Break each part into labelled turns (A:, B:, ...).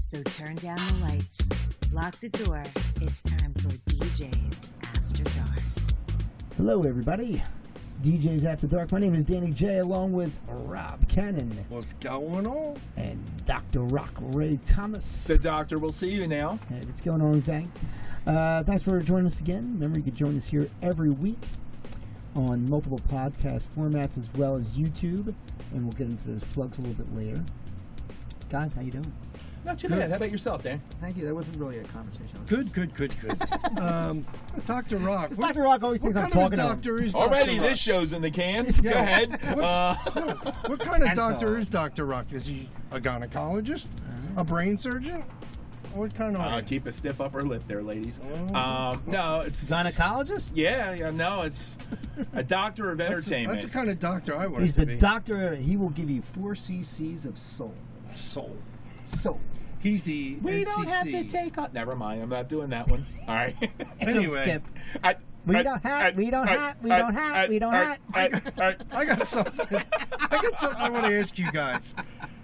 A: So turn down the lights, lock the door. It's time for DJ's After Dark.
B: Hello, everybody. It's DJs After Dark. My name is Danny J, along with Rob Cannon
C: What's going on?
B: and Dr. Rock Ray Thomas.
D: The doctor will see you now.
B: Hey, what's going on? Thanks. Uh, thanks for joining us again. Remember, you can join us here every week on multiple podcast formats as well as YouTube, and we'll get into those plugs a little bit later. Guys, how you doing?
D: Not too
C: Good.
D: bad. How about yourself, Dan?
B: Thank you. That wasn't really a conversation.
C: Good, good, good, good. um, Dr. Rock. what-
B: Dr. Rock always
C: what
B: thinks I'm
C: kind
B: talking
C: of
B: to him.
C: doctor is
D: Already,
C: Dr. Rock?
D: this show's in the can. Go
C: Yeah.
D: ahead. Uh,
C: What kind of
B: And so
C: doctor
B: on.
C: is Dr. Rock? Is he a gynecologist?
B: Mm-hmm.
C: A brain surgeon? What kind of.
D: uh, keep a stiff upper lip there, ladies.
C: Oh.
D: Um, no, it's
B: Gynecologist?
D: Yeah, yeah, no, it's a doctor of
C: that's, the-
D: entertainment.
C: that's the kind of doctor I want
B: He's
C: to
B: the
C: be.
B: doctor. He will give you four CCs of soul.
C: Soul.
B: Soul.
C: He's the NCC.
D: we don't have to take on. Never mind, I'm not doing that one. All right.
C: Anyway.
B: Skip.
D: I,
B: We
D: I-
B: don't have-
D: I-
B: we don't
D: I-
B: have- we
D: I-
B: don't have-
D: I-
B: we don't
D: I-
B: have.
D: I- I-
C: I got something. I got something I want to ask you guys.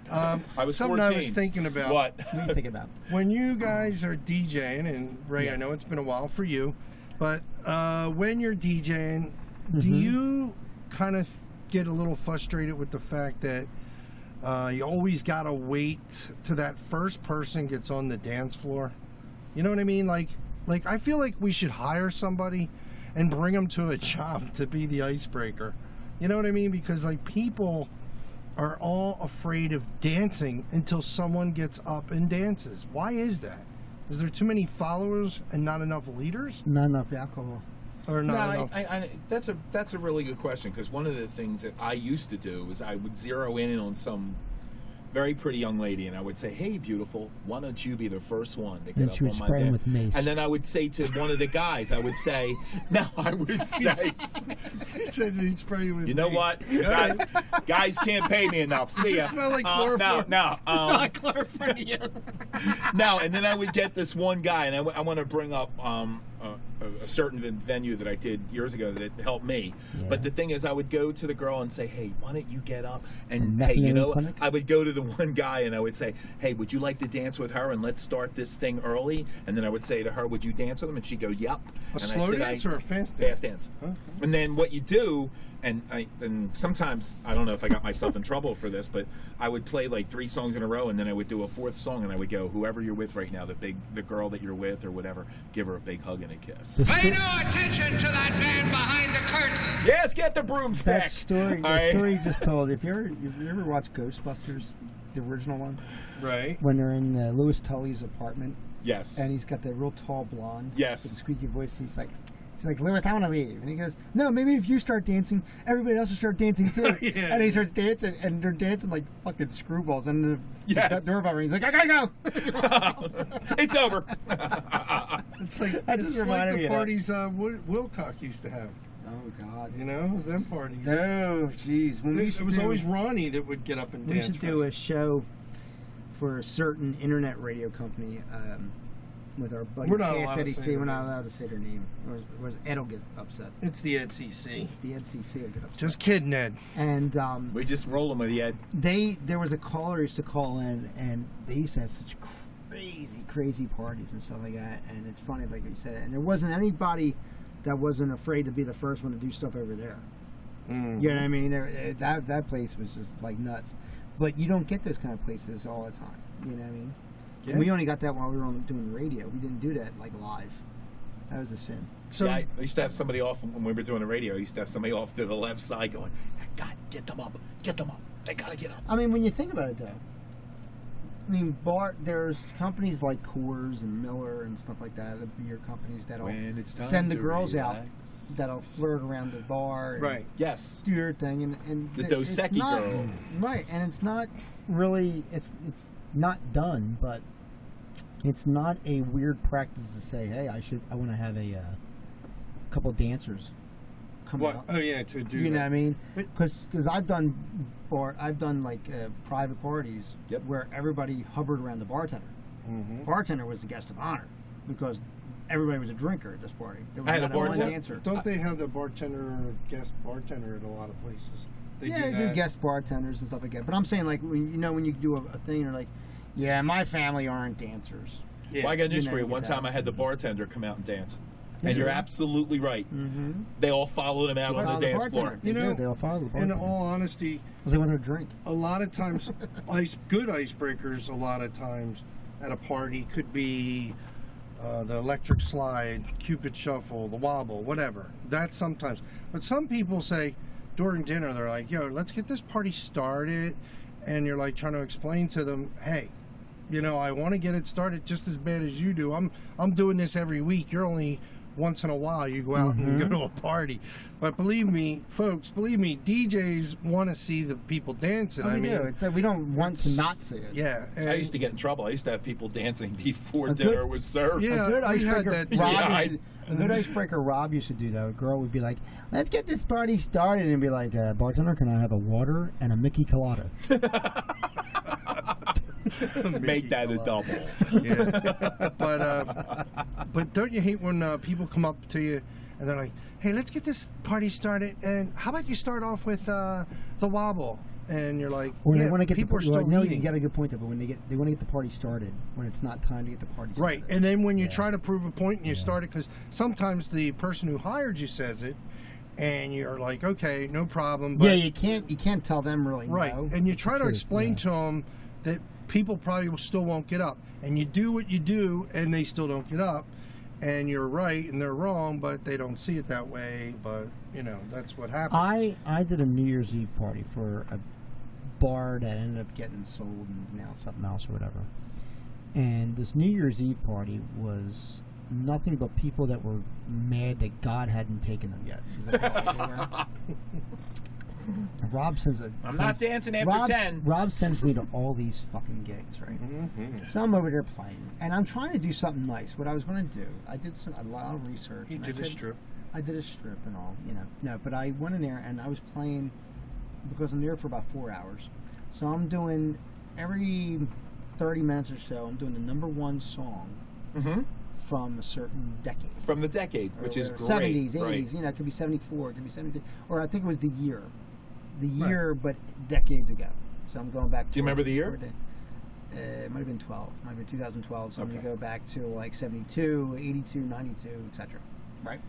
C: Um,
D: I was
C: something I was
D: 14.
C: thinking about.
D: What?
B: What do you think about?
C: when you guys are DJing, and Ray, I
B: Yes.
C: know it's been a while for you, but uh, when you're DJing, do you kind of get a little frustrated with the fact that uh, you always gotta wait till that first person gets on the dance floor? You know what I mean? Like, like I feel like we should hire somebody and bring them to a job to be the icebreaker. You know what I mean? Because like people are all afraid of dancing until someone gets up and dances. Why is that? Is there too many followers and not enough leaders,
B: Not enough alcohol.
C: or
D: No,
C: not
D: I,
C: enough?
D: I, I, that's a that's a really good question because one of the things that I used to do is I would zero in on some very pretty young lady and I would say, "Hey, beautiful, why don't you be the first one to get
B: And
D: up
B: she would
D: on my
B: spray 'em
D: bed?"
B: with mace.
D: And then I would say to one of the guys, I would say, "No, I would say,
C: he said he'd spray you with.
D: you know
C: mace.
D: what, guys, guys can't pay me enough. See
C: this
D: ya.
C: smell like
D: Uh, no,
C: chloroform?
D: no, um, no, and then I would get this one guy, and I, want to bring up um, a, a certain ven- venue that I did years ago that helped me. But the thing is, I would go to the girl and say, "Hey, why don't you get up?" And
B: The
D: hey, you
B: methadone
D: know,
B: clinic?
D: I would go to the one guy and I would say, "Hey, would you like to dance with her? And let's start this thing early." And then I would say to her, "Would you dance with him?" And she'd go, "Yep."
C: A
D: and
C: slow
D: I said,
C: dance
D: I,
C: or a fast dance?
D: fast dance. And then what you do, and I and sometimes I don't know if I got myself in trouble for this, but I would play like three songs in a row, and then I would do a fourth song, and I would go, whoever you're with right now, the big the girl that you're with or whatever, give her a big hug and a kiss.
E: Pay no attention to that man behind the curtain.
D: yes, get the broomstick.
B: That story,
D: All
B: the
D: right.
B: story you just told. If you ever, if you ever watched Ghostbusters, the original one,
C: Right.
B: when they're in uh, Lewis Tully's apartment,
D: Yes.
B: and he's got that real tall blonde,
D: Yes.
B: with the squeaky voice, he's like. He's like, Lewis, I want to leave. And he goes, No, maybe if you start dancing, everybody else will start dancing too.
C: Yeah.
B: And he starts dancing, and they're dancing like fucking screwballs. And the
D: Yes.
B: the doorbell rings. He's like, I gotta go.
D: it's over.
C: It's like
B: That just
C: it's like
B: reminded me
C: the
B: of that.
C: parties uh, Wil- Wilcock used to have.
B: oh, God.
C: You know, them parties.
B: No, jeez. When we
C: it,
B: used to
C: was
B: do-
C: always Ronnie that would get up and
B: we
C: dance.
B: should do a show for a certain internet radio company um, with our buddy
C: We're not allowed to
B: KSEDC.
C: say
B: We're
C: their
B: not
C: name.
B: allowed to say their name. Or, or Ed will get upset.
C: It's the NCC.
B: The NCC will get upset.
C: Just kidding, Ed.
B: and um,
D: we just roll them with the head.
B: they there was a caller used to call in, and they used to have such crazy, crazy parties and stuff like that. And it's funny, like you said, and there wasn't anybody that wasn't afraid to be the first one to do stuff over there. You know what I mean? There- eh, That that place was just like nuts. But you don't get those kind of places all the time. You know what I mean? And we only got that while we were on, doing radio. We didn't do that like live. That was a sin.
C: So
D: yeah, I I used to have somebody off when we were doing the radio. I used to have somebody off to the left side going, "God, get them up, get them up. They gotta get up."
B: I mean, when you think about it, though, I mean, bar there's companies like Coors and Miller and stuff like that, the beer companies that'll
D: When it's time
B: send the
D: to
B: girls
D: relax.
B: out, that'll flirt around the bar, and
C: right.
D: Yes.
B: do their thing, and and
D: The
B: th- it's
D: Doseki
B: not-
D: girls.
B: right? And it's not really, it's it's not done, but it's not a weird practice to say, hey, I should, I want to have a uh, couple dancers come
C: What?
B: out.
C: Oh yeah, to do.
B: You know what I
C: that.
B: mean? Because I've done bar, I've done like uh, private parties
D: Yep.
B: where everybody hovered around the bartender. Bartender was the guest of honor because everybody was a drinker at this party. There was
D: I had a
B: not one
D: bartender-
B: dancer.
C: Mm-hmm. Don't they have the bartender or guest bartender at a lot of places? They
B: yeah,
C: do
B: they do
C: that.
B: guest bartenders and stuff like that. But I'm saying like when you know when you do a, a thing, you're like, Yeah, my family aren't dancers.
C: Yeah.
D: Well, I got news
B: You
D: for
B: know,
D: you.
B: you
D: One
B: get
D: time
B: that.
D: I had the bartender come out and dance. And you're absolutely right. They all followed him out on
B: Follow
D: the dance
B: Mm-hmm. bartender.
D: floor.
B: They
C: You
B: do,
C: know,
B: they'll follow the
C: in
B: bartender.
C: all honesty,
B: they want their drink.
C: a lot of times ice good icebreakers a lot of times at a party could be uh, the electric slide cupid shuffle the wobble whatever that's sometimes but some people say during dinner they're like yo let's get this party started and you're like trying to explain to them hey you know i want to get it started just as bad as you do i'm i'm doing this every week you're only once in a while you go out and go to a party but believe me folks believe me djs want to see the people dancing i
B: we
C: mean
B: do. It's like we don't want to not see it.
C: yeah and-
D: I used to get in trouble. I used to have people dancing before
B: A good-
D: dinner was served.
C: yeah
B: A good
C: we had
B: icebreaker,
C: that
B: Rob
C: too.
D: Yeah, I-
B: used to, a good icebreaker Rob used to do though. A girl would be like, "Let's get this party started," and be like, uh, "Bartender, can I have a water and a Mickey Colada?"
D: Make that a double.
C: Yeah. but uh, but don't you hate when uh, people come up to you and they're like, "Hey, let's get this party started," and how about you start off with uh, the wobble? And you're like,
B: Or
C: yeah,
B: they want to get
C: people
B: the,
C: are still
B: no,
C: eating."
B: you got a good point there, but when they get they want to get the party started when it's not time to get the party started.
C: Right, and then when you try to prove a point and you start it, because sometimes the person who hired you says it, and you're like, okay, no problem. But
B: yeah, you can't you can't tell them really
C: Right.
B: no.
C: And you try to
B: Truth,
C: explain
B: yeah.
C: to them that people probably will still won't get up. And you do what you do, and they still don't get up. And you're right, and they're wrong, but they don't see it that way. But, you know, that's what happens.
B: I I did a New Year's Eve party for a bar that ended up getting sold and now something else or whatever. And this New Year's Eve party was nothing but people that were mad that God hadn't taken them yet. Is that how they were? Rob sends a.
D: I'm
B: sends-
D: not dancing after
B: Rob,
D: 10.
B: Rob sends me to all these fucking gigs, right?
C: Mm-hmm.
B: So I'm over there playing, and I'm trying to do something nice. What I was going to do, I did some a lot of research.
C: he
B: and I
C: did a
B: said-
C: strip.
B: I did a strip and all, you know. No, but I went in there and I was playing because I'm there for about four hours. So I'm doing every 30 minutes or so, I'm doing the number one song
D: Mhm.
B: from a certain decade.
D: From the decade,
B: or
D: which is
B: whatever.
D: great.
B: 70s, 80s,
D: right.
B: you know, it could be 74, it could be 73, or I think it was the year. The year, but decades ago. So I'm going back to.
D: Do you remember the year?
B: Uh, it might have been 12, might have been 2012. So I'm going
D: Okay.
B: to go back to like 72, 82, 92, etc. Right?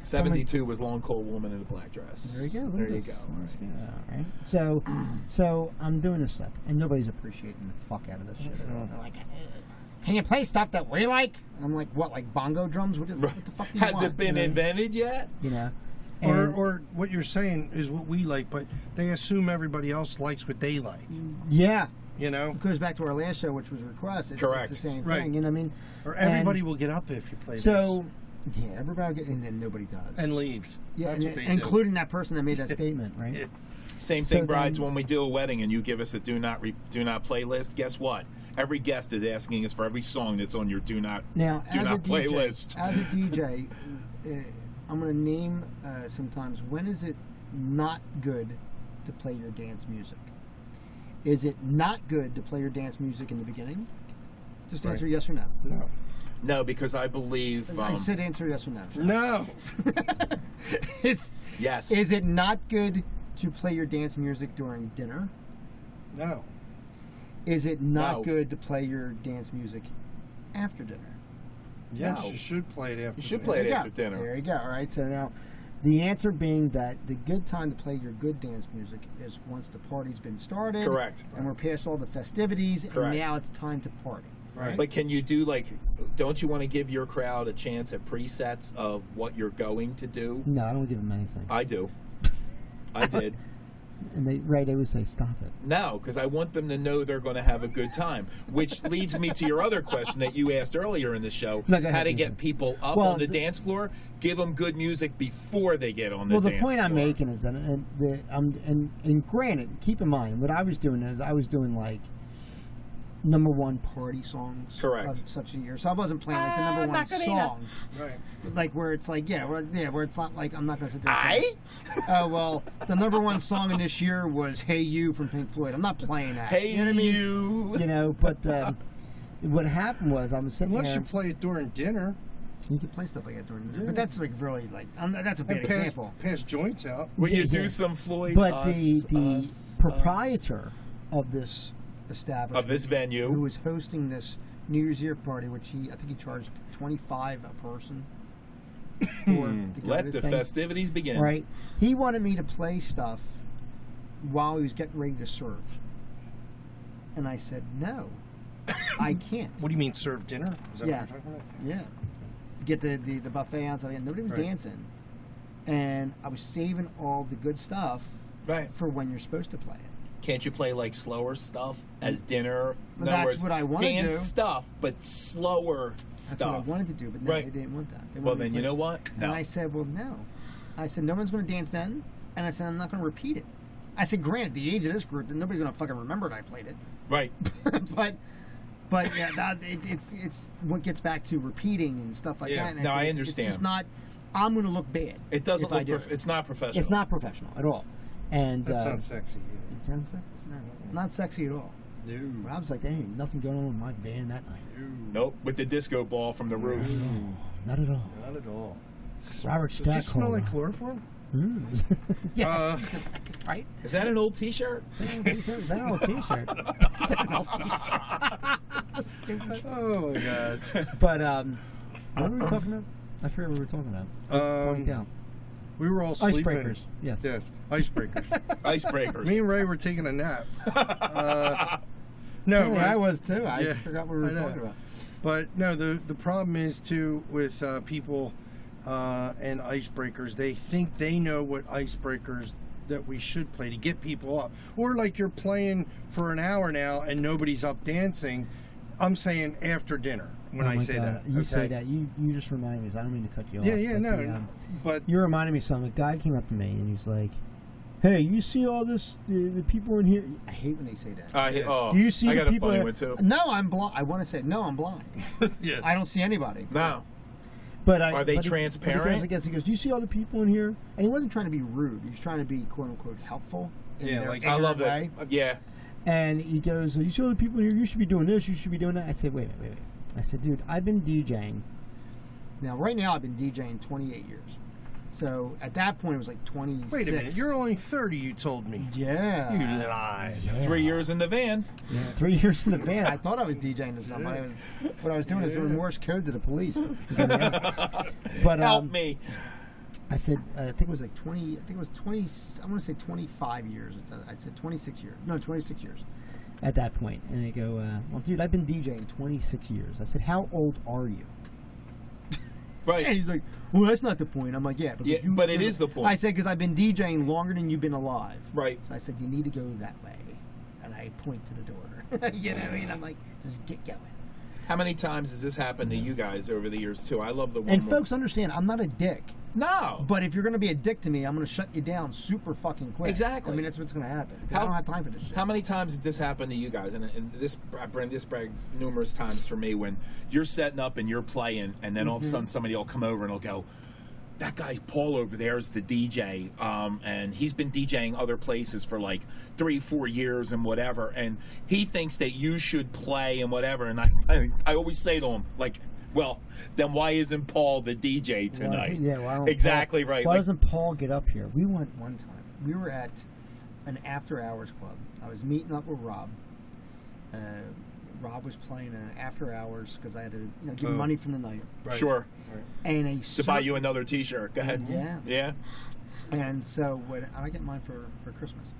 D: 72 was Long Cold Woman in a Black Dress.
B: There you go. look
D: There
B: at
D: you
B: this.
D: go.
B: Let's
D: All
B: get
D: right.
B: this out, right? So, so I'm doing this stuff, and nobody's appreciating the fuck out of this shit. at
C: Uh-huh.
B: all. They're like, "Uh, "Can you play stuff that we like?" I'm like, "What, like bongo drums? What, the- what the fuck?" Do you
D: Has
B: want?
D: it been
B: you know?
D: invented yet?
B: You know,
C: Or,
B: And-
C: or what you're saying is what we like, but they assume everybody else likes what they like,
B: Mm. yeah,
C: you know?
B: it goes back to our last show, which was request. It's,
D: Correct.
B: It's the same
C: Right.
B: thing. You know what I mean?
C: Or everybody
B: And
C: will get up if you play
B: So, yeah, everybody get, and then nobody does.
C: this. And leaves.
B: yeah,
C: that's
B: and-
C: what they do.
B: including that person that made that statement, right?
C: Yeah.
D: Same
B: So
D: thing, brides.
B: then-
D: when we do a wedding and you give us a do not re- do not playlist, guess what? Every guest is asking us for every song that's on your do not
B: Now,
D: do
B: as
D: not
B: a DJ,
D: playlist.
B: As a DJ, uh, I'm going to name uh, sometimes when is it not good to play your dance music? Is it not good to play your dance music in the beginning? Just answer yes or no.
C: No.
D: no, because I believe
B: I
D: um,
B: said answer yes or no.
C: No.
B: is,
D: yes.
B: is it not good to play your dance music during dinner?
C: No.
B: Is it not
D: No.
B: good to play your dance music after dinner?
C: Yes,
D: No.
C: you should play it after
D: you should
C: the-
D: play it
B: Yeah,
D: after dinner.
B: There you go. All right. So now, the answer being that the good time to play your good dance music is once the party's been started.
D: Correct.
B: And we're past all the festivities,
D: Correct.
B: and now it's time to party.
C: Right.
D: But can you do like? Don't you want to give your crowd a chance at presets of what you're going to do?
B: No, I don't give them anything.
D: I do. I did.
B: And they right, they would say, "Stop it."
D: No, because I want them to know they're going to have a good time. Which leads me to your other question that you asked earlier in the show:
B: No, go
D: how
B: ahead,
D: to
B: please.
D: get people up
B: Well,
D: on the
B: the-
D: dance floor? Give them good music before they get on the
B: Well, the
D: dance
B: point I'm
D: floor.
B: making is that, and the um, and and granted, keep in mind what I was doing is I was doing like number one party songs
D: Correct.
B: of such a year, so I wasn't playing like the number one song.
C: Right.
B: like where it's like yeah, where, yeah, where it's not like I'm not gonna sit there.
D: I?
B: Oh well, the number one song in this year was "Hey You" from Pink Floyd. I'm not playing that.
D: Hey,
B: you know what I mean?
D: you.
B: You know, but um, what happened was I'm sitting
C: Unless
B: there.
C: you play it during dinner
B: You can play stuff like that during the but that's like really like um, that's a bad
C: and pass,
B: example.
C: pass joints out.
D: Will you
B: Yeah, yeah.
D: do some Floyd?
B: But
D: Us,
B: the the
D: us, us.
B: proprietor of this establishment
D: of this venue.
B: who was hosting this New Year's Eve party, which he I think he charged twenty five a person. for- to go to
D: Hmm. Let
B: this
D: the
B: thing.
D: festivities begin.
B: Right. He wanted me to play stuff while he was getting ready to serve, and I said no, I can't.
C: What do you mean serve dinner? Is that
B: Yeah.
C: what you're talking about?
B: Yeah. Get the, the, the buffet on something. Nobody was
C: Right.
B: dancing. And I was saving all the good stuff
D: Right.
B: for when you're supposed to play it.
D: Can't you play like slower stuff as dinner?
B: Well,
D: In other
B: that's
D: words,
B: what I wanna
D: dance
B: do.
D: stuff, but slower
B: That's
D: stuff.
B: what I wanted to do, but no,
D: Right.
B: they didn't want that. They
D: well,
B: wanted me
D: then
B: to
D: you
B: play-
D: know what?
B: And
D: No.
B: I said, well, no. I said, no one's going to dance then. And I said, I'm not going to repeat it. I said, granted, the age of this group, nobody's going to fucking remember that I played it.
D: right.
B: but but yeah, that, it, it's it's what gets back to repeating and stuff like
C: Yeah.
B: that. And
D: No,
B: it's-
D: I
B: It's just
D: understand.
B: not. I'm going to look bad.
D: It doesn't
B: if I
D: look.
B: do
D: Prof-
B: it.
D: it's not professional.
B: It's not professional at all. And
C: That
B: uh,
C: sounds sexy. either.
B: it sounds like it's not, not sexy at all.
C: No.
B: Rob's like, there ain't nothing going on in my band that night.
D: Nope. With the disco ball from the roof.
B: Not at all.
C: Not at all.
B: Robert
C: Does this smell
B: Stackholm.
C: like chloroform?
B: Mm. yeah,
C: Uh,
B: right.
D: Is that an old T-shirt?
B: Is that an old T-shirt? Is that an old T-shirt? Stupid.
C: oh my god.
B: But um, what were we talking about? I forget what we were talking about. uh,
C: Um,
B: Down.
C: We were all sleeping.
B: Icebreakers. Yes.
C: Yes, icebreakers.
D: Icebreakers.
C: Me and Ray were taking a nap. Uh, no,
B: Yeah,
C: but-
B: I was too. I
C: Yeah,
B: forgot what we were
C: I know.
B: talking about.
C: But no, the the problem is too with uh, people uh, and icebreakers. They think they know what icebreakers that we should play to get people up. Or like you're playing for an hour now and nobody's up dancing. I'm saying after dinner when
B: Oh
C: I
B: my
C: say
B: God.
C: that.
B: You
C: okay?
B: say that. You you just reminded me. 'cause I don't mean to cut you
C: Yeah,
B: off.
C: yeah,
B: but
C: no.
B: the,
C: no.
B: um,
C: But
B: you reminded me of something. A guy came up to me and he's like, "Hey, you see all this? The, the people in here. I hate when they say that.
D: I, oh,
B: Do you see
D: I
B: the
D: got a
B: people?
D: funny
B: in-
D: one too.
B: No, I'm blind. I want to say no, I'm blind.
C: yeah,
B: I don't see anybody.
D: No.
B: But I,
D: Are
B: but he-
D: they
B: But he
D: transparent?
B: goes, I guess he goes. Do you see all the people in here? And he wasn't trying to be rude. He was trying to be quote unquote helpful. In
C: Yeah,
B: their
C: like-
D: I love that.
B: ignorant way.
D: Yeah.
B: And he goes, "You see all the people here. You should be doing this. You should be doing that." I said, "Wait a minute, wait a minute." I said, "Dude, I've been DJing. Now, right now, I've been DJing 28 years. So at that point, it was like 26.
C: wait a minute. You're only thirty. You told me.
B: yeah.
C: You lied.
D: Three years in the van.
B: Yeah, three years in the van. I thought I was DJing to somebody. I was, what I was doing is doing Morse code to the police. but
D: Help
B: um,
D: me.
B: I said, uh, I think it was like 20, I think it was 20, I want to say 25 years. I said 26 years. No, 26 years at that point. And they go, uh, well, dude, I've been DJing 26 years. I said, how old are you? And
D: Right.
B: he's like, well, that's not the point. I'm like, yeah. because
D: Yeah, but it is the point.
B: I said, because I've been DJing longer than you've been alive.
D: Right.
B: So I said, you need to go that way. And I point to the door. you know, and I'm like, just get going.
D: How many times has this happened to you guys over the years too? I love the one.
B: And
D: more-
B: folks, understand, I'm not a dick.
D: no.
B: But if you're going to be a dick to me, I'm going to shut you down super fucking quick.
D: Exactly.
B: I mean, that's what's going to happen. 'cause I
D: How-
B: don't have time for this shit.
D: How many times did this happen to you guys? And, and this, Brent, this brag numerous times for me when you're setting up and you're playing, and then all of
B: Mm-hmm.
D: a sudden somebody will come over and will go, "That guy's Paul over there is the DJ, um, and he's been DJing other places for like three, four years and whatever, and he thinks that you should play and whatever." And I, I, I always say to him like. Well, then why isn't Paul the DJ
B: Why-
D: tonight?
B: yeah, why don't
D: exactly
B: Paul-
D: right.
B: Why
D: Like-
B: doesn't Paul get up here? We went one time. We were at an after hours club. I was meeting up with Rob. Uh, Rob was playing in an after hours because I had to you know, give him
C: Oh.
B: money from the night.
C: Right.
D: Sure.
B: And a
D: To buy you another T-shirt. Go ahead.
B: Yeah.
D: Yeah.
B: And so when I get mine for, for Christmas.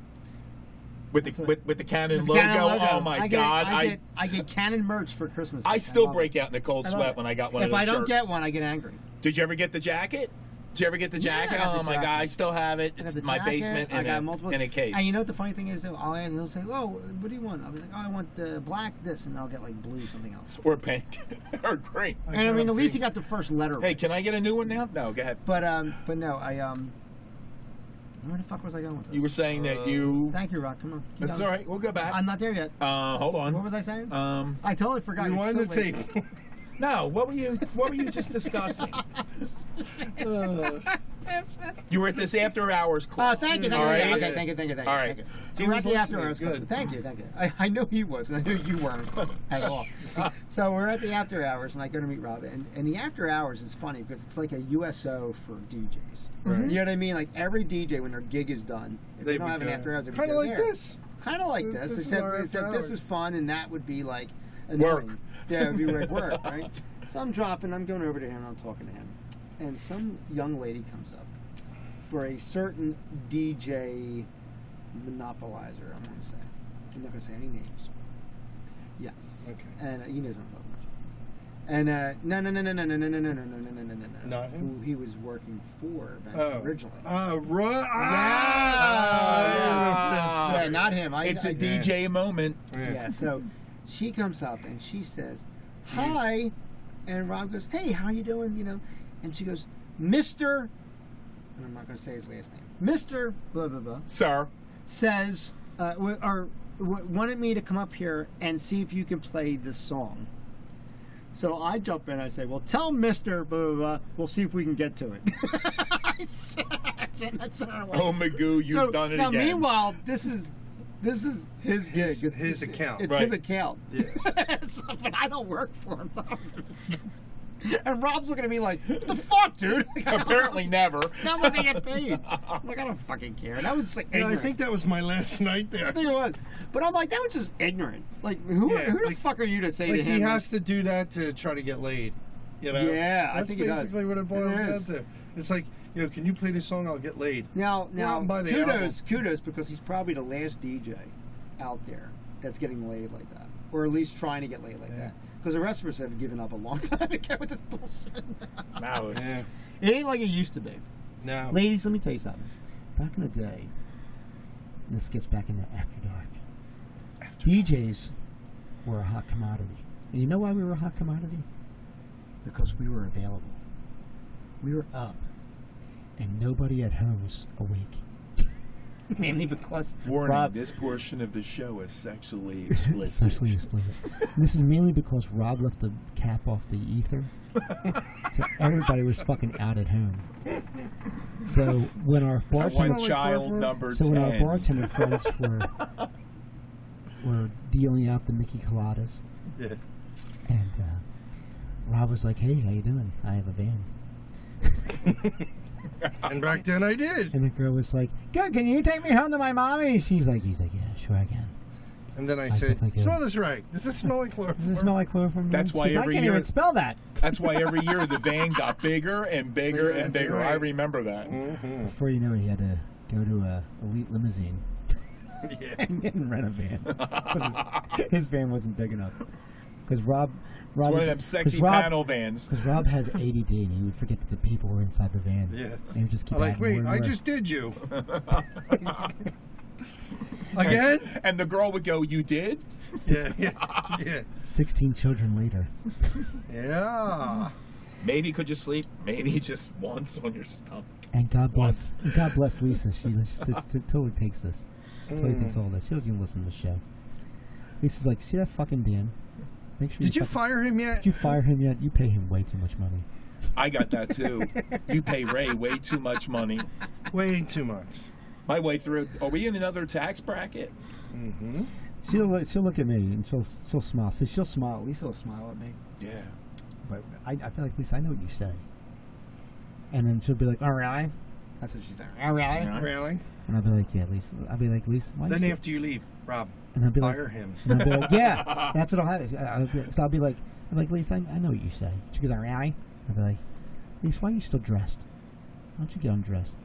D: With the
B: a-
D: with, with the Canon
B: The
D: logo.
B: Canon
D: Oh my
B: I get,
D: God!
B: I
D: I
B: get, I get Canon merch for Christmas.
D: I still
B: love
D: break
B: it.
D: out in a cold
B: I love
D: sweat
B: it.
D: when I got one
B: if
D: of those
B: I don't
D: shirts.
B: get one, I get angry.
D: Did you ever get the jacket? Did you ever get the
B: Yeah, I
D: jacket?
B: got the
D: oh my
B: jacket.
D: God! I still have it.
B: I got
D: It's
B: the
D: in my
B: jacket,
D: basement
B: I
D: in,
B: got
D: a,
B: multiple,
D: in a case.
B: And you know what the funny thing is? Though? I'll ask, they'll say, "Oh, what do you want?" I'll be like, "Oh, I want uh, black this," and I'll get like blue something else.
D: Or pink, or green.
B: and I
C: got
B: mean,
C: a
B: at least he
C: pink.
B: got the first letter.
D: Hey,
B: right.
D: can I get a new one now? No, go ahead.
B: But um, but no, I um, where the fuck was I going with this?
D: You were saying that you.
B: Uh, Thank you, Rock. Come on. keep
D: That's all
B: going.
D: right. We'll go back.
B: I'm not there yet.
D: Uh, hold on.
B: What was I saying?
D: Um,
B: I totally forgot.
C: You
B: It's
C: wanted
B: so
C: to
B: late.
C: take.
D: no. What were you? What were you just discussing? you were at this after hours
B: Oh,
D: club.
B: Uh. thank you. Thank
D: All
B: you,
D: right.
B: thank you. Okay, thank you, thank you, thank you.
D: All right.
B: Thank you.
C: He
B: So we're
C: was
B: at the after
C: listening.
B: hours club.
C: Good.
B: Thank you, thank you. I, I know he was, and I knew you weren't at all. so we're at the after hours, and I go to meet Rob. And, and the after hours is funny because it's like a USO for DJs. You know what I mean? Like every DJ, when their gig is done, if they, don't have an after hours, they would
C: Kind of
B: go
C: like
B: there.
C: this.
B: kind of like
C: This-
B: this,
C: this is
B: except,
C: our after
B: except this
C: hours.
B: is fun and that would be like
D: Work.
B: annoying. Yeah, it would be like work, right? So I'm dropping, I'm going over to him, I'm talking to him, and some young lady comes up for a certain DJ monopolizer. I'm going to say, I'm not going to say any names. Yes.
C: Okay.
B: And uh, he knows what I'm talking about. And uh, no, no, no, no, no, no, no, no, no, no, no, no, no, no, no,
C: Not him?
B: Who he was working for back
C: Oh.
B: originally.
C: Uh, ru-
D: Yeah.
C: ah!
B: yeah, not him. I,
D: It's
B: I-
D: a DJ moment.
B: yeah, so she comes up and she says, "Hi," and Rob goes, "Hey, how you doing?" You know, and she goes, "Mister," and I'm not going to say his last name. Mister blah blah blah
D: Sir.
B: says, uh, w- or w- wanted me to come up here and see if you can play this song. So I jump in. I say, "Well, tell Mister blah blah blah. We'll see if we can get to it." I said, that's what I want.
D: Oh, Magoo, you've
B: So,
D: done it
B: now,
D: again.
B: meanwhile, this is this is his gig.
C: His-
B: It's- it's-
C: his account.
B: It's
D: Right.
B: his account. So, but I don't work for him. so I don't know. and Rob's looking at me like, "What the fuck, dude?" Like, I don't-
D: Apparently never.
B: Now I'm gonna get paid. I'm like, I don't fucking care. That was like,
C: Yeah, I
B: ignorant.
C: think that was my last night there.
B: I think it was. But I'm like, that was just ignorant. Like, who,
C: Yeah,
B: who the
C: like-
B: fuck are you to say
C: Like
B: to him?
C: he has to do that to try to get laid. You know?
B: Yeah, I
C: That's
B: think he does.
C: basically what it boils
B: It
C: down
B: is.
C: to. It's like, yo, can you play this song? I'll get laid.
B: now, now,
C: out and buy the
B: kudos,
C: album.
B: kudos, because he's probably the last DJ out there that's getting laid like that, or at least trying to get laid like
C: Yeah.
B: that. Because the rest of us have given up a long time ago with this bullshit.
D: Wow. it's-
C: Yeah.
B: it ain't like it used to be.
C: Now,
B: Ladies, let me tell you something. Back in the day, this gets back into After Dark. DJs were a hot commodity. And you know why we were a hot commodity? Because we were available. We were up. And nobody at home was awake. Mainly because Rob
F: this portion of the show is sexually explicit.
B: Especially explicit. And this is mainly because Rob left the cap off the ether. so everybody was fucking out at home. So when our
C: That's why
B: bartender
D: One
C: Smelly
D: child
C: Clover.
D: number
B: so when our
D: 10.
B: bartender friends were were dealing out the Mickey Coladas,
C: yeah.
B: and uh, Rob was like, "Hey, how you doing? I have a van."
C: and back then I did.
B: And the girl was like, "Good, can you take me home to my mommy?" She's like, "He's like, yeah, sure, I can."
C: And then I said,
B: definitely did.
C: smell this rag. Does this smell like chloroform?
B: Does it smell like chloroform? to
D: That's
B: you?"
D: why
B: She's like,
D: every
B: I can't
D: year-
B: even spell that.
D: That's why every year the van got bigger and bigger and
C: That's
D: bigger.
C: right.
D: I remember that.
B: Mm-hmm. Before you know it, he had to go to a elite limousine
C: yeah.
B: and didn't rent a van 'Cause his, his van wasn't big enough. Because Rob, Rob,
D: It's one of them
B: 'cause
D: sexy
B: Rob-
D: panel vans.
B: Because Rob has ADD and he would forget that the people were inside the van.
C: Yeah.
B: And he would just keep
C: I'm like,
B: adding more
C: wait,
B: and
C: I
B: more.
C: just did you. Again?
D: And the girl would go, "You did?
C: Yeah, yeah, yeah.
B: 16 children later.
C: Yeah.
D: Maybe could you sleep? Maybe just once on your stomach."
B: And God bless and God bless Lisa. She just, just t- totally takes this. Totally
C: Mm.
B: takes all this. She doesn't even listen to the show. Lisa's like, see that fucking Dan? Make sure
C: Did you
B: fucking-
C: fire him yet?
B: Did you fire him yet? You pay him way too much money.
D: I got that too. you pay Ray way too much money.
C: Way too much.
D: My way through. Are we in another tax bracket?
B: She'll look- she'll look at me and she'll she'll smile. So she'll smile. Lisa will smile at me.
D: Yeah.
B: But I, I feel like Lisa, I know what you say. And then she'll be like, oh really? That's what she's like. Oh really?
C: Really?
B: And I'll be like, yeah, Lisa. I'll be like, Lisa. Why you
C: Then
B: still-"
C: after you leave, Rob,
B: and I'll be like,
C: fire him.
B: and I'll be like, yeah, that's what I'll have. I'll be- So I'll be like, I'm like, Lisa, I, I know what you say. She goes, "Oh, really? I'll be like, Lisa, why are you still dressed? Why don't you get undressed?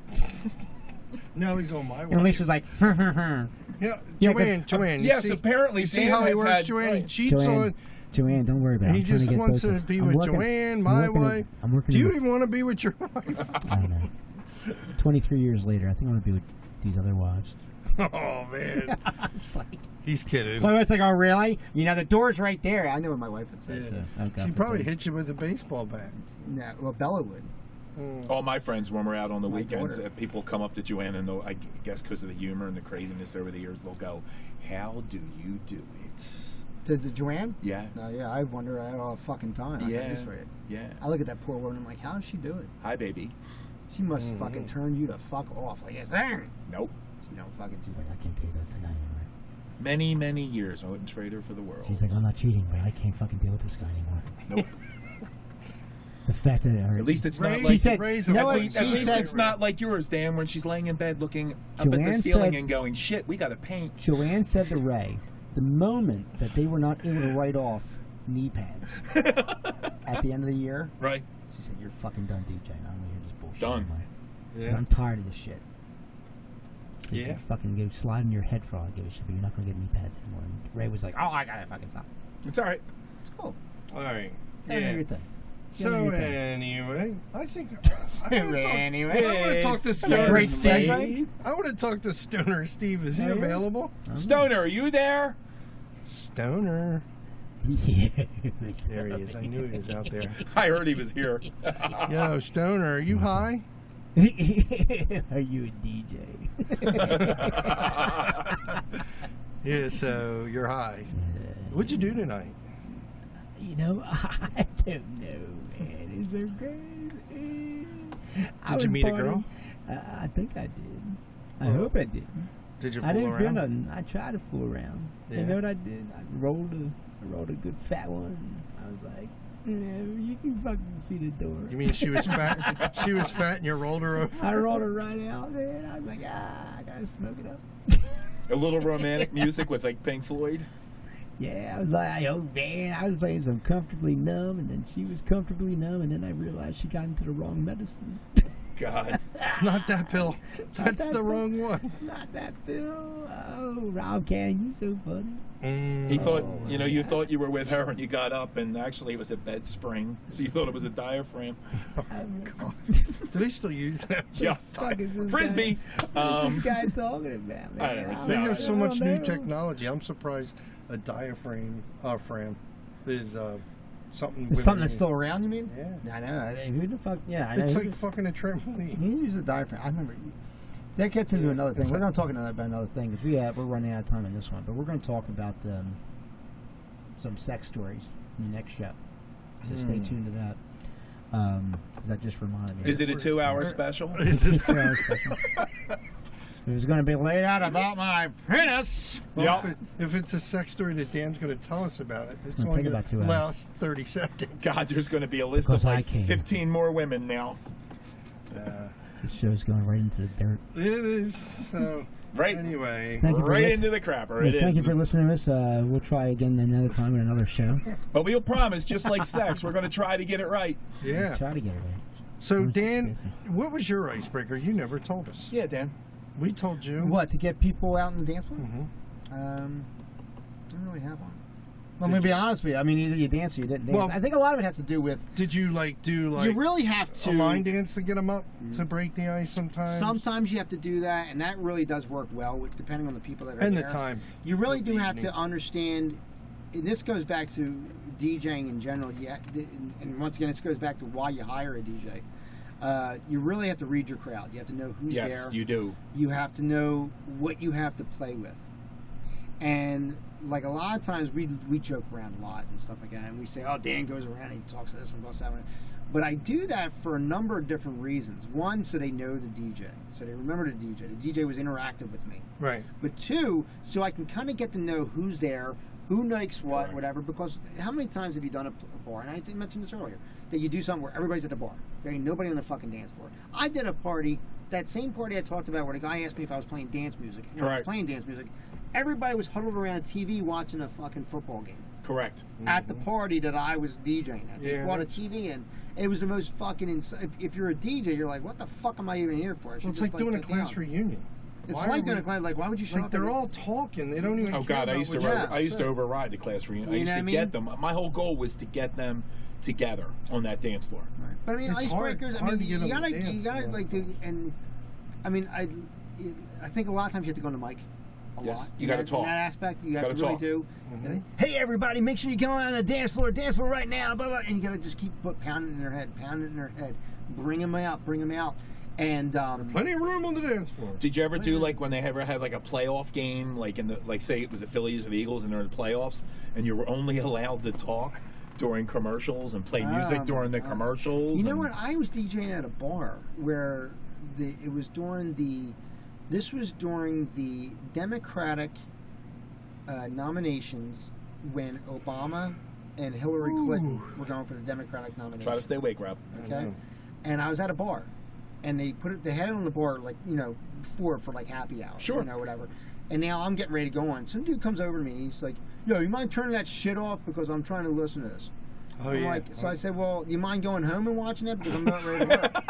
C: Now he's on my
B: And
C: way.
B: Lisa's like, "Hmm, hmm, hmm."
C: Yeah,
B: Yeah, 'cause-
C: Joanne, Joanne. you
D: yes,
C: see-
D: apparently
C: You see
D: Dan
C: how he
D: has
C: works,
D: had-
C: Joanne? He cheats
B: Joanne,
C: on.
B: Joanne, don't worry about it.
C: He
B: I'm trying
C: just
B: get
C: wants
B: both of
C: to
B: us."
C: be
B: I'm
C: with
B: working-
C: Joanne,
B: I'm
C: my
B: working-
C: wife.
B: I'm working.
C: Do you
B: with-
C: even want to be with your wife?
B: I don't know. Twenty-three years later, I think I'm gonna be with these other wives.
C: oh man, he's kidding.
B: My wife's like, "Oh, really? You know, the door's right there." I know what my wife would say.
C: Yeah.
B: So, okay,
C: She probably hit you with a baseball bat.
B: No, well, Bella would.
D: All my friends, when we're out on the
B: My
D: weekends,
B: daughter.
D: uh, people come up to Joanne, and they'll, I guess because of the humor and the craziness over the years, they'll go, "How do you do it?"
B: To, to Joanne?
D: Yeah.
B: No, yeah, I wonder at all the fucking time. I got
D: yeah.
B: used to it.
D: Yeah.
B: I look at that poor woman. I'm like, how does she do it?
D: Hi, baby.
B: She must fucking turn you to fuck off. Like, "Bang!"
D: Nope.
B: you know, fucking. She's like, I can't do this thing anymore.
D: Many, many years. I wouldn't trade her for the world.
B: She's like, I'm not cheating, but I can't fucking deal with this guy anymore.
D: Nope.
B: the fact that it hurt.
D: At least it's not
C: Raise-
D: like
B: she said,
C: raise
B: "You know
C: a
B: what?"
D: At
C: Well,
D: least,
B: She
D: at least
B: said-
D: it's not like yours, Dan, when she's laying in bed looking up at
B: Joanne
D: the ceiling
B: said-
D: and going, "Shit, we got to paint."
B: Joanne said to Ray, the moment that they were not able to write off knee pads at the end of the year,
D: Right?
B: she said, "You're fucking done, DJ. I don't want to hear this bullshit
D: Done.
B: anymore.
C: Yeah.
B: I'm tired of this shit." You
C: Yeah.
B: can fucking go slide in your head for all I give a shit, but you're not gonna get knee pads anymore. And Ray was like, "Oh, I gotta fucking stop."
D: It's all right.
B: It's cool.
C: All right.
B: Yeah.
C: Yeah.
B: Your thing.
C: So
B: your thing.
C: anyway, I think I wanna talk-
D: Anyway,
C: I want to talk to
D: it's
C: Stoner
B: great
C: Steve.
B: segue.
C: I want to talk to Stoner Steve. Is he
B: Oh, yeah?
C: available?
D: Stoner, are you there?
C: Stoner.
B: Yeah.
C: There he is. I knew he was out there.
D: I heard he was here.
C: Yo, Stoner, are you
B: Mm-hmm.
C: high?
B: Are you a DJ?
C: Yeah, so you're high. What'd you do tonight?
B: You know, I don't know, man. Is there crazy? I
C: Did you
B: was
C: meet a girl?
B: partying. Uh, I think I did. I hope I did.
C: Did you fool
B: I didn't feel
C: around?
B: nothing. I tried to fool around.
C: Yeah.
B: You know what I did? I rolled a, I rolled a good fat one. I was like, you know, you can fucking see the door.
C: You mean she was fat? she was fat, and you rolled her over.
B: I rolled it right out, man. I was like, ah, I gotta smoke it up.
D: A little romantic music with like Pink Floyd.
B: Yeah, I was like, oh man, I was playing some comfortably numb, and then she was comfortably numb, and then I realized she got into the wrong medicine.
D: God,
C: Not that pill. That's
B: that
C: the
B: pill.
C: wrong one.
B: Not that Bill. Oh, Rob Cannon, you so funny.
D: he
B: Mm.
D: thought you know
B: Oh,
D: you thought you were with her when you got up, and actually it was a bed spring, so you thought it was a diaphragm.
B: I'm like,
C: Do they still use that?
D: Yeah,
B: fuck is this
D: frisbee.
B: Guy, what is
D: Um,
B: this guy talking about, man?
D: I don't know.
B: I'm
C: They
B: like,
D: No,
B: I
C: have so
B: don't
C: much new
B: know.
C: technology. I'm surprised a diaphragm uh, fram is uh, something.
B: It's
C: women
B: something that's
C: use.
B: still around, you mean?
C: Yeah.
B: I know. I- Who the fuck? Yeah, I know. Mm-hmm.
C: It's
B: who
C: like
B: the-
C: fucking a trampoline.
B: He used a diaphragm. I remember. That gets into another thing. We're not talking about another thing because we have, we're running out of time in this one, but we're going to talk about um, some sex stories in the next show. So
D: Hmm.
B: stay tuned to that. Um, 'cause that just reminded me.
D: is it a two-hour special?
C: Is it?
B: So it's special. it was going to be laid out about my penis.
C: Well,
D: Yeah.
C: if, it, if it's a sex story that Dan's going to tell us about it, it's
B: gonna
C: only
B: take
C: going
B: about
C: to
B: two hours.
C: last 30 seconds.
D: God, there's going to be a list
B: Because
D: of
B: I
D: like
B: came.
D: 15 more women now.
B: This show's going right into the dirt.
C: It is. So,
D: Right.
C: anyway.
B: Thank you for
D: Right
B: lis-
D: into the crapper,
B: Yeah,
D: it
B: thank you
D: is.
B: for listening to us. Uh, we'll try again another time in another show.
D: But we'll promise, just like sex, we're going to try to get it right.
C: Yeah.
B: Try to get it right.
C: So, Dan,
B: busy.
C: what was your icebreaker? You never told us.
D: Yeah, Dan.
C: We told you.
B: What to get people out and dance with?
C: Mhm.
D: Mm-hmm.
B: Um, I don't really have one. Well, I'm gonna be honest with you. I mean, either you dance or you didn't dance.
C: Well-
B: I think a lot of it has to do with
C: Did you, like, do, like,
B: you really have to.
C: a line dance to get them up
B: Mm-hmm.
C: to break the ice sometimes?
B: Sometimes you have to do that, and that really does work well, with, depending on the people that are
C: And the
B: there.
C: time.
B: You really
C: of
B: do
C: the
B: have
C: evening.
B: to understand. And this goes back to DJing in general. Yeah, and and once again, this goes back to why you hire a DJ. Uh, you really have to read your crowd. You have to know who's
D: Yes,
B: there.
D: you do.
B: you have to know what you have to play with. And like a lot of times we we joke around a lot and stuff like that, and we say, "Oh, Dan goes around and he talks to this one, talks to that one." But I do that for a number of different reasons. One, so they know the DJ, so they remember the DJ. The DJ was interactive with me.
C: Right.
B: But two, so I can kind of get to know who's there, who likes what, whatever. Because how many times have you done a, a bar? And I mentioned this earlier that you do something where everybody's at the bar. There ain't nobody on the fucking dance floor. I did a party, that same party I talked about, where the guy asked me if I was playing dance music. And I was
D: Right.
B: playing dance music. Everybody was huddled around a TV watching a fucking football game
D: Correct.
B: at the party that I was DJing at.
C: Mm-hmm. Yeah,
B: they brought a
C: that's-
B: TV in. It was the most fucking. Ins- if, if you're a DJ, you're like, what the fuck am I even here for? I should
C: Well, it's
B: just,
C: like doing a
B: get
C: class
B: down.
C: reunion.
B: It's
C: Why
B: like
C: are
B: doing
C: we-
B: a class. Mm-hmm. Like, why would you show
C: Like,
B: up and-
C: they're all talking. They don't even
D: Oh
C: care
D: God, I
C: about
D: used to
C: what you-
B: Yeah,
D: over, I used to
B: so-
D: override the class reunion. I
B: You
D: used
B: know
D: to
B: what I
D: get
B: mean?
D: them. My whole goal was to get them together on that dance floor.
B: But I mean,
C: It's hard-
B: icebreakers. I mean,
C: hard to get
B: you
C: them to
B: gotta, you
C: dance
B: gotta
C: around
B: like,
C: the
B: to, and I mean, I, it- I think a lot of times you have to go on the mic. A
D: Yes,
B: lot.
D: you
B: In
D: gotta
B: that-
D: talk.
B: In that aspect, you have
D: Gotta
B: to really
D: talk.
B: do.
C: Mm-hmm.
B: Hey, everybody! Make sure you come on the dance floor, dance floor right now, blah blah. And you gotta just keep put, pounding it in their head, pounding it in their head, bring them out, bring them out, and um,
C: Plenty of room on the dance floor.
D: Did you ever do
B: Mm-hmm.
D: like when they ever had like a playoff game, like in the like say it was the Phillies or the Eagles and they're in the playoffs, and you were only allowed to talk during commercials and play music
B: Um,
D: during the
B: uh,
D: commercials?
B: You know
D: and-
B: what? I was DJing at a bar where the it was during the this was during the Democratic uh, nominations when Obama and Hillary Clinton were going for the Democratic nomination.
D: Try to stay awake, Rob.
B: okay? And I was at a bar, and they put it, they had it on the bar like you know before for like happy hour,
D: Sure.
B: you know whatever. And now I'm getting ready to go on. Some dude comes over to me. He's like, "Yo, you mind turning that shit off because I'm trying to listen to this."
C: Oh
B: I'm
C: yeah.
B: like, so I said, "Well, you mind going home and watching it because I'm not ready to work."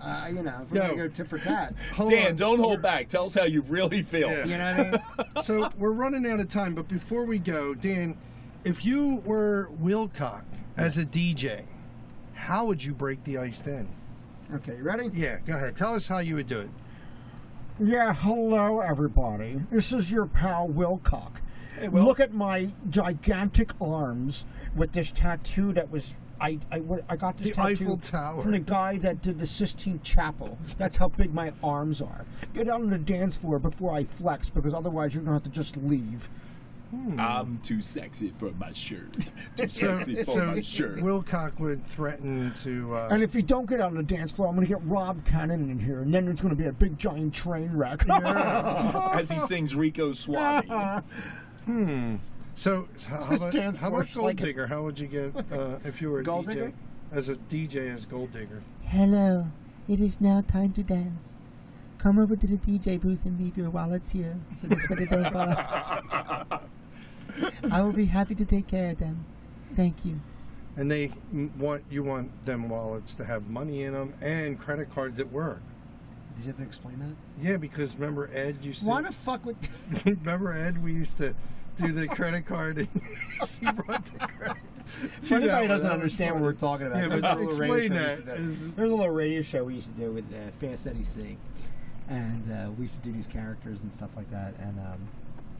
B: uh, you know, if we're
C: Yo.
B: gonna go tit for tat.
C: Hold
D: Dan,
C: on.
D: don't hold back. Tell us how you really feel.
C: Yeah.
B: You know what I mean?
C: so we're running out of time, but before we go, Dan, if you were Wilcock as a DJ, how would you break the ice then?
B: Okay, you ready?
C: Yeah, go ahead. Tell us how you would do it.
B: Yeah, hello everybody. This is your pal Wilcock. Look at my gigantic arms with this tattoo that was I I, what- I got this
C: The
B: tattoo
C: Eiffel Tower.
B: from the guy that did the Sistine Chapel. That's how big my arms are. Get out on the dance floor before I flex, because otherwise you're gonna have to just leave.
D: I'm too sexy for my shirt. Too
C: So,
D: sexy for
C: so
D: my shirt.
C: Wilcock would threaten to. Uh,
B: And if you don't get out on the dance floor, I'm gonna get Rob Cannon in here, and then it's gonna be a big giant train wreck.
D: As he sings Rico Suave.
C: so so how about,
B: Dance
C: how about
B: floor's
C: Gold
B: like a-
C: Digger? How would you get uh, if you were a
B: Gold
C: DJ
B: Digger?
C: as a DJ as Gold Digger?
G: Hello, it is now time to dance. Come over to the DJ booth and leave your wallets here so this way they don't fall out. I will be happy to take care of them. Thank you.
C: And they m- want you want them wallets to have money in them and credit cards at work.
B: you have to explain that?
C: Yeah, because remember Ed used to.
B: Why the fuck would
C: Remember, Ed, we used to do the credit card. And she brought the credit.
B: For
C: Yeah,
B: anybody
C: well,
B: who doesn't
C: that was
B: understand what
C: funny.
B: we're talking about,
C: Yeah,
B: there's
C: but
B: a little radio
C: explain
B: show we
C: that.
B: used to do.
C: Is-
B: There's a little radio show we used to do with uh, Fast Eddie Sing, and uh, we used to do these characters and stuff like that. And um,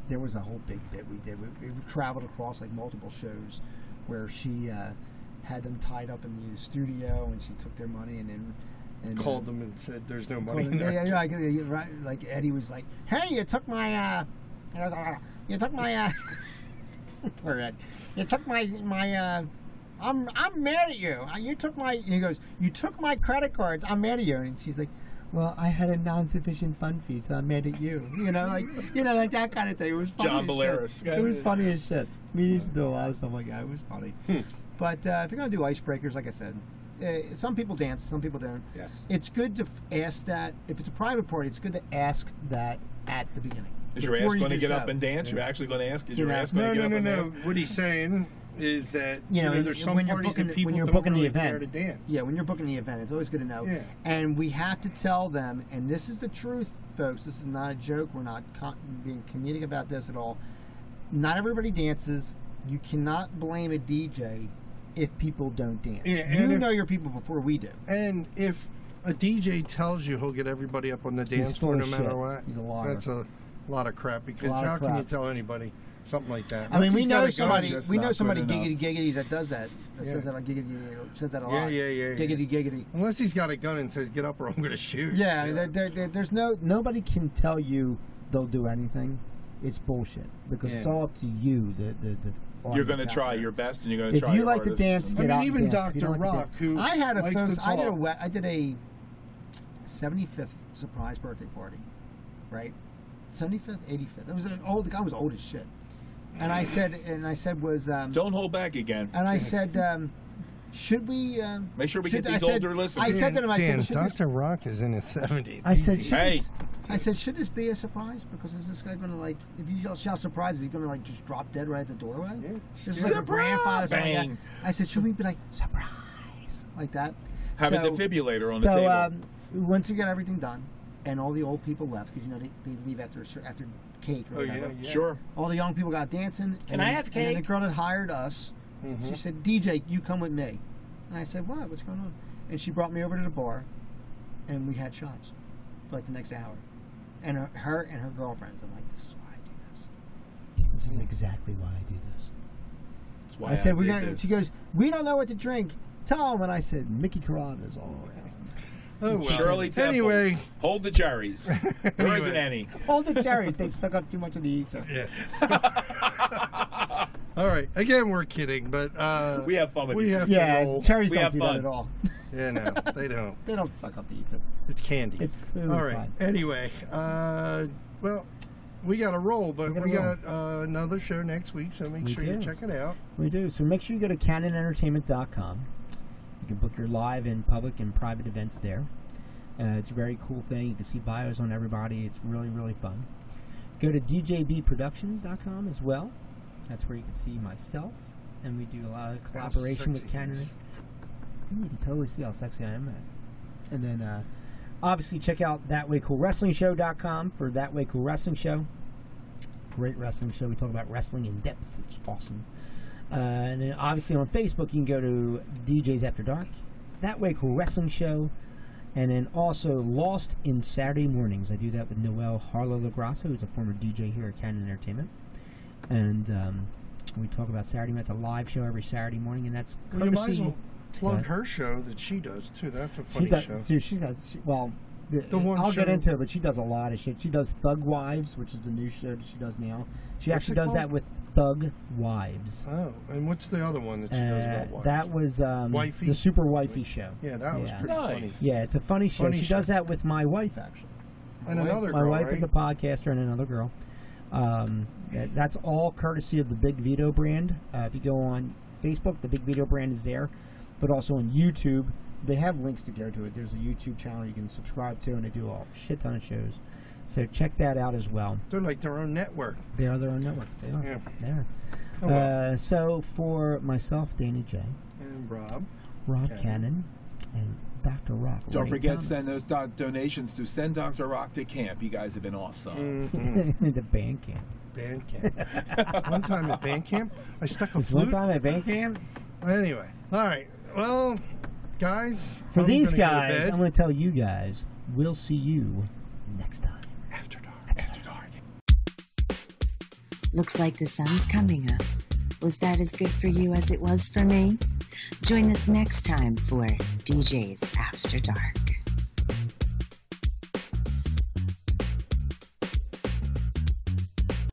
B: there was a whole big bit we did. We, we traveled across like multiple shows where she uh, had them tied up in the studio, and she took their money and then and, uh,
C: Called them and said, "There's no money
B: Called
C: in
B: them-
C: there."
B: yeah, yeah, like, uh, yeah, right, like Eddie was like, "Hey, you took my, uh, uh, you took my, uh, poor Ed, you took my my uh, I'm I'm mad at you. Uh, You took my." He goes, "You took my credit cards. I'm mad at you." And she's like,
G: Well, I had a non-sufficient fund fee, so I made it you.
B: "You know, like you know, like that kind of thing." It was funny
D: John
B: as
D: Belarus.
B: shit. It was funny as shit. We used to do a lot of stuff like that. It was funny.
D: Hmm.
B: but uh, if you're gonna do icebreakers, like I said. Uh, some people dance, some people don't.
D: Yes.
B: It's good to f- ask that if it's a private party. It's good to ask that at the beginning.
D: Is your
B: before
D: ass
B: you
D: going to
B: do
D: get up
B: show.
D: and dance? You're actually going to ask? Is your
B: Yeah.
D: ass going
C: No,
D: to
C: no,
D: get
C: no,
D: up
C: no.
D: and dance?
C: What he's saying is that you know,
B: know,
C: there's
B: you-
C: some
B: when you're
C: parties
B: booking
C: that
B: the-
C: people
B: when you're
C: don't
B: booking the
C: really
B: event.
C: care to dance.
B: Yeah, when you're booking the event, it's always good to know.
C: Yeah.
B: And we have to tell them, and this is the truth, folks. This is not a joke. We're not con- being comedic about this at all. Not everybody dances. You cannot blame a DJ if people don't dance.
C: Yeah, and
B: you
C: if-
B: know your people before we do.
C: And if a DJ tells you he'll get everybody up on the dance
B: full
C: floor no
B: of
C: matter
B: shit.
C: what,
B: He's a liar.
C: That's a lot of crap. Because
B: lot of
C: how can you
B: crap.
C: tell anybody something like that?
B: I mean,
C: Unless
B: we
C: he's
B: know
C: got a gun.
B: somebody.
D: that's
B: We
D: not
B: know
D: good
B: somebody
D: enough.
B: giggity giggity that does that. That
C: Yeah.
B: says that like giggity giggity says that a lot.
C: Yeah, yeah, yeah, yeah.
B: Giggity giggity.
C: Unless he's got a gun and says, "Get up, or I'm going to shoot."
B: Yeah, There, there, there, there's no nobody can tell you they'll do anything. It's bullshit because it's
C: Yeah.
B: all up to you. The the, the
D: You're
B: audience
D: going to
B: out
D: try
B: there.
D: your best and you're going to
B: If
D: try
B: you
D: your
B: like to
D: hardest.
B: dance,
C: I
B: Get
C: mean,
B: out and
C: even
B: dance if you
C: Dr.
B: don't like to
C: Rock,
B: dance.
C: who
B: I had a
C: likes
B: folks,
C: to
B: I did a
C: talk.
B: we- I did a 75th surprise birthday party, right? 75th, 85th. It was an old. I was old as shit. And I said, and I said was, um,
D: Don't hold back again.
B: and I said, um, should we? Um,
D: Make sure we
B: should-
D: get these
B: I said-
D: older listeners.
B: I said to them, I
C: Dan,
B: said, should this-
C: Dr. Rock is in his 70s.
B: I said,
C: He's-
B: should
D: Hey.
B: this, I said, should this be a surprise? Because is this guy gonna like, if you yell shout surprise, is he gonna like just drop dead right at the doorway?
C: Yeah.
B: This is like a grandfather. or something Like
D: Bang.
B: that. I said, should we be like surprise like that?
D: Have a
B: So-
D: defibrillator on the
B: So
D: table.
B: um, once we got everything done, and all the old people left because you know they, they leave after a cer- after cake or
C: Oh, yeah,
B: whatever.
C: yeah.
D: sure.
B: All the young people got dancing. Can and I have cake? And then the girl that hired us, she said, DJ, you come with me. And I said, what? What's going on? And she brought me over to the bar, and we had shots for like the next hour. And her, her and her girlfriends. I'm like, this is why I do this.
G: This is exactly why I do this.
D: That's why
B: I said, we're
D: did
B: going
D: this.
B: She goes, we don't know what to drink. Tell them. And I said, Mickey Carrada's all around.
C: oh, well.
D: Shirley Temple.
C: Anyway,
D: Hold the cherries. There isn't any.
B: All the cherries, they stuck up too much of the ether.
C: yeah. All right. Again, we're kidding, but uh,
D: We have fun with
C: we
D: you.
C: have to
B: Yeah,
C: roll.
B: cherries
D: We
B: don't
D: have
B: do
D: fun.
B: that at all.
C: yeah, no, they don't.
B: They don't suck up the ether.
C: It's candy.
B: It's totally
C: All right.
B: fine.
C: Anyway, uh, well, we got to roll, but
G: We gotta
C: we
G: roll.
C: got uh, another show next week, so make
G: We
C: sure you
G: do.
C: check it out.
G: We do. So make sure you go to canonentertainment.com. You can book your live and public and private events there. Uh, it's a very cool thing. You can see bios on everybody. It's really, really fun. Go to djbproductions.com as well. That's where you can see myself. And we do a lot of collaboration with
C: sexy he
G: Canon.
C: is.
G: Ooh, You can totally see how sexy I am. uh, And then uh, obviously check out thatwaycoolwrestlingshow.com for That Way Cool Wrestling Show. Great wrestling show. We talk about wrestling in depth. It's awesome. Uh, and then obviously on Facebook, you can go to DJs After Dark, That Way Cool Wrestling Show, and then also Lost in Saturday Mornings. I do that with Noel Harlow Lagrasso, who's a former DJ here at Cannon Entertainment. And um, we talk about Saturday nights, a live show every Saturday morning, and that's
C: Well, you might as
G: courtesy-
C: well plug
G: Yeah.
C: her show that she does too. That's a
G: she
C: funny
G: does,
C: show.
G: dude. She does. She, well, the,
C: one
G: I'll get
C: show-
G: into it, but she does a lot of shit. She does Thug Wives, which is the new show that she does now. She
C: What's
G: actually
C: it
G: does that
C: called?
G: with Thug Wives.
C: Oh, and what's the other one that she does
G: Uh,
C: about wives?
G: that was um,
C: Wifey?
G: the Super Wifey show.
C: yeah, that was
G: yeah.
C: pretty
D: Nice.
C: funny.
G: Yeah, it's a funny show.
C: Funny
G: she does
C: show.
G: that with my wife actually.
C: and
G: My wife-
C: another
G: my
C: girl,
G: wife
C: right?
G: is a podcaster and another girl. Um, that, that's all courtesy of the Big Vito brand. Uh, if you go on Facebook, the Big Vito brand is there, but also on YouTube, they have links to go to it. There's a YouTube channel you can subscribe to, and they do a shit ton of shows. So check that out as well.
C: They're like their own network.
G: They are their own network. They are.
C: Yeah.
G: They are.
C: Oh, well.
G: Uh, so for myself, Danny J,
C: and Rob.
G: Rob
C: Okay.
G: Cannon, and Dr. Rock.
D: Don't
G: Ray
D: forget,
G: Thomas.
D: send those do- donations to send Dr. Rock to camp. You guys have been
B: Mm.
D: awesome.
C: Mhm.
G: the band camp.
C: band camp. one time at band camp, I stuck a
G: This one
C: flute.
G: time at band camp,
C: Anyway, all right. Well, guys,
G: For
C: I'm
G: these
C: gonna go to
G: guys,
C: bed.
G: I'm going to tell you guys, we'll see you next time.
C: after dark.
D: After dark.
A: Looks like the sun's coming up. Was that as good for you as it was for me? Join us next time for DJs After Dark.